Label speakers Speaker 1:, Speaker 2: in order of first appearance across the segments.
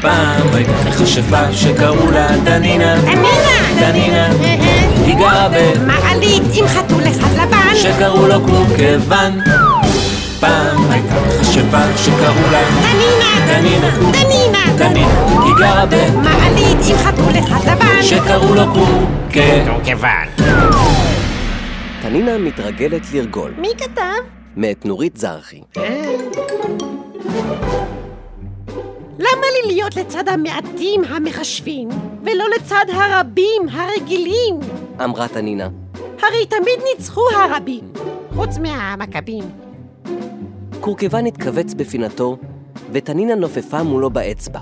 Speaker 1: פעם הייתה מכשפה שקראו לה דנינה.
Speaker 2: דנינה!
Speaker 1: דנינה.
Speaker 2: אהה.
Speaker 1: היא גרה ב...
Speaker 2: מעלית עם חתול אחד לבן.
Speaker 1: שקראו לו כמובן. פעם הייתה מכשפה שקראו לה
Speaker 2: דנינה!
Speaker 1: דנינה.
Speaker 2: דנינה!
Speaker 1: דנינה. היא גרה ב...
Speaker 2: מעלית עם חתול אחד לבן.
Speaker 1: שקראו לו כמובן.
Speaker 3: כמובן.
Speaker 4: תנינה מתרגלת לרגול,
Speaker 2: מי כתב?
Speaker 4: מאת נורית זרחי.
Speaker 2: למה לי להיות לצד המעטים המחשבים, ולא לצד הרבים הרגילים?
Speaker 4: אמרה תנינה,
Speaker 2: הרי תמיד ניצחו הרבים, חוץ מהמכבים.
Speaker 4: קורקבן התכווץ בפינתו, ותנינה נופפה מולו באצבע.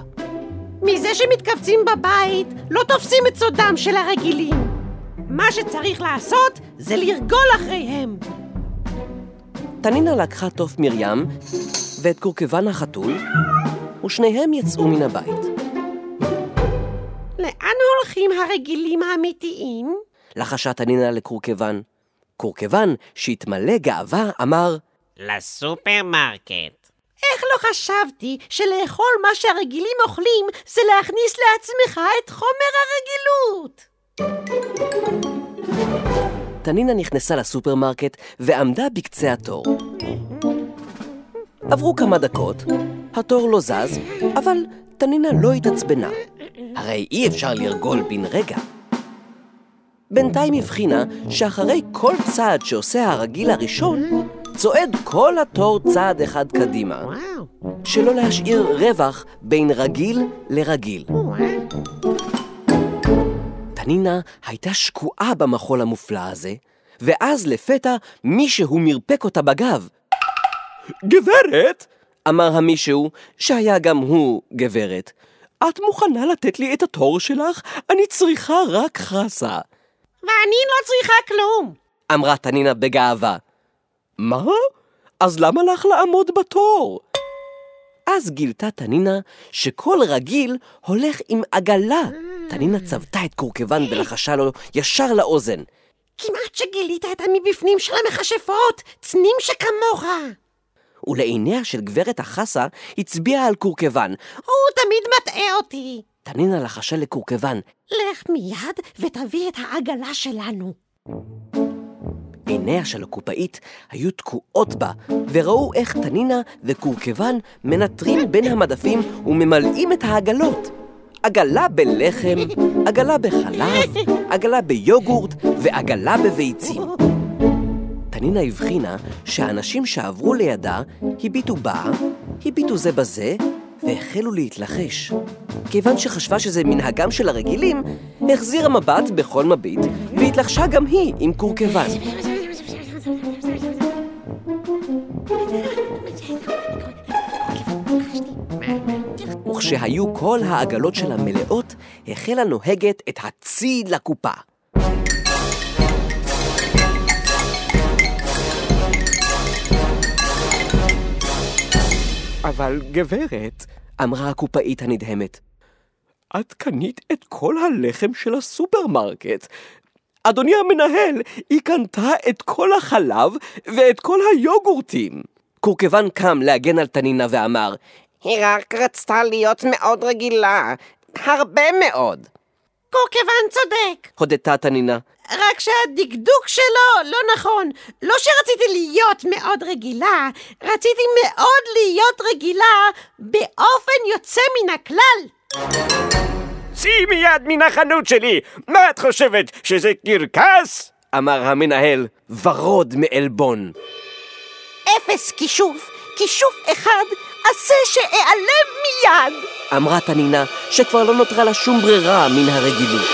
Speaker 2: מזה שמתכווצים בבית, לא תופסים את סודם של הרגילים. מה שצריך לעשות זה לרגול אחריהם.
Speaker 4: תנינה לקחה תוף מרים ואת קורקבן החתול, ושניהם יצאו מן הבית.
Speaker 2: לאן הולכים הרגילים האמיתיים?
Speaker 4: לחשה תנינה לקורקבן. קורקבן, שהתמלא גאווה, אמר,
Speaker 3: לסופרמרקט.
Speaker 2: איך לא חשבתי שלאכול מה שהרגילים אוכלים זה להכניס לעצמך את חומר הרגילות?
Speaker 4: תנינה נכנסה לסופרמרקט ועמדה בקצה התור. עברו כמה דקות, התור לא זז, אבל תנינה לא התעצבנה. הרי אי אפשר לרגול בן רגע. בינתיים הבחינה שאחרי כל צעד שעושה הרגיל הראשון, צועד כל התור צעד אחד קדימה,
Speaker 2: וואו,
Speaker 4: שלא להשאיר רווח בין רגיל לרגיל.
Speaker 2: וואו.
Speaker 4: תנינה הייתה שקועה במחול המופלא הזה, ואז לפתע מישהו מרפק אותה בגב. גברת! אמר המישהו, שהיה גם הוא גברת. את מוכנה לתת לי את התור שלך? אני צריכה רק חסה.
Speaker 2: ואני לא צריכה כלום.
Speaker 4: אמרה תנינה בגאווה. מה? אז למה לך לעמוד בתור? אז גילתה תנינה שכל רגיל הולך עם עגלה. תנינה צבטה את קורקבן ולחשה לו ישר לאוזן.
Speaker 2: כמעט שגילית את המבפנים של המכשפות, צנים שכמוך.
Speaker 4: ולעיניה של גברת החסה הצביעה על קורקבן.
Speaker 2: הוא תמיד מטעה אותי.
Speaker 4: תנינה לחשה לקורקבן.
Speaker 2: לך מיד ותביא את העגלה שלנו.
Speaker 4: עיניה של הקופאית היו תקועות בה, וראו איך תנינה וקורקבן מנטרים בין המדפים וממלאים את העגלות. עגלה בלחם, עגלה בחלב, עגלה ביוגורט ועגלה בביצים. תנינה הבחינה שהאנשים שעברו לידה הביטו בה, הביטו זה בזה, והחלו להתלחש. כיוון שחשבה שזה מנהגם של הרגילים, החזירה מבט בכל מביט, והתלחשה גם היא עם קורקבן. וכשהיו כל העגלות שלה מלאות, החלה נוהגת את הציד לקופה. אבל גברת, אמרה הקופאית הנדהמת, את קנית את כל הלחם של הסופרמרקט. אדוני המנהל, היא קנתה את כל החלב ואת כל היוגורטים. קורקבן קם להגן על תנינה ואמר,
Speaker 3: היא רק רצתה להיות מאוד רגילה. הרבה מאוד.
Speaker 2: קורקוון צודק,
Speaker 4: הודתה תנינה.
Speaker 2: רק שהדקדוק שלו לא נכון. לא שרציתי להיות מאוד רגילה, רציתי מאוד להיות רגילה באופן יוצא מן הכלל.
Speaker 3: צאי מיד מן החנות שלי! מה את חושבת, שזה קרקס?
Speaker 4: אמר המנהל, ורוד מעלבון.
Speaker 2: אפס כישוף, כישוף אחד, עשה שאיעלם מיד.
Speaker 4: אמרה תנינה, שכבר לא נותרה לה שום ברירה מן הרגילות.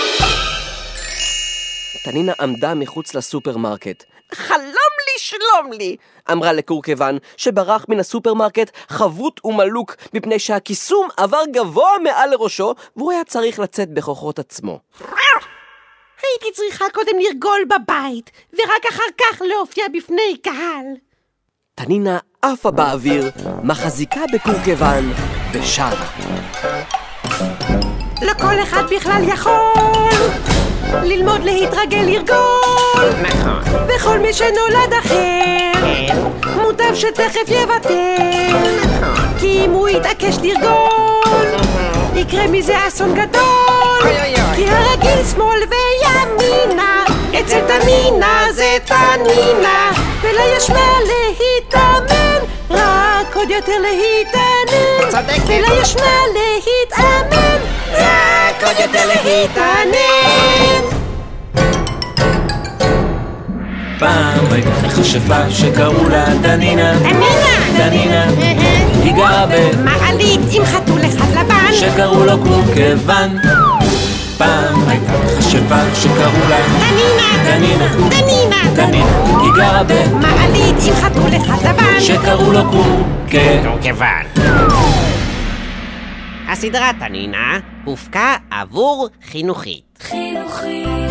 Speaker 4: תנינה עמדה מחוץ לסופרמרקט.
Speaker 2: חלום לי שלום לי.
Speaker 4: אמרה לקורקוון, שברח מן הסופרמרקט חבוט ומלוק, מפני שהכיסום עבר גבוה מעל לראשו, והוא היה צריך לצאת בכוחות עצמו.
Speaker 2: הייתי צריכה קודם לרגול בבית, ורק אחר כך להופיע בפני קהל.
Speaker 4: תנינה עפה באוויר, מחזיקה בקורקוון, ושרה.
Speaker 2: לא כל אחד בכלל יכול ללמוד להתרגל לרגול.
Speaker 3: נכון.
Speaker 2: וכל מי שנולד אחר, מוטב שתכף יוותר. כי אם הוא יתעקש לרגול, היא יקרה מזה אסון גדול!
Speaker 5: אוי, אוי, אוי.
Speaker 2: כי הרגיל שמאל וימינה, אצל תנינה זה תנינה, ולה יש מה להתאמן, רק עוד יותר להתעניין.
Speaker 5: צודקת.
Speaker 2: ולה יש מה להתאמן, רק עוד יותר להתעניין.
Speaker 4: פעם הייתה חשבה שקראו לה דנינה
Speaker 2: תנינה!
Speaker 4: דנינה היא גרה
Speaker 2: מעלית עם חתול אחד לבן.
Speaker 4: שקראו לו קורקוון פעם הייתה חשבה שקראו לה
Speaker 2: תנינה!
Speaker 4: דנינה.
Speaker 2: תנינה!
Speaker 4: דנינה היא גרה
Speaker 2: מעלית עם חתול אחד לבן.
Speaker 4: שקראו לו קורקוון
Speaker 5: כיוון. הסדרה תנינה הופקה עבור חינוכית.
Speaker 6: חינוכית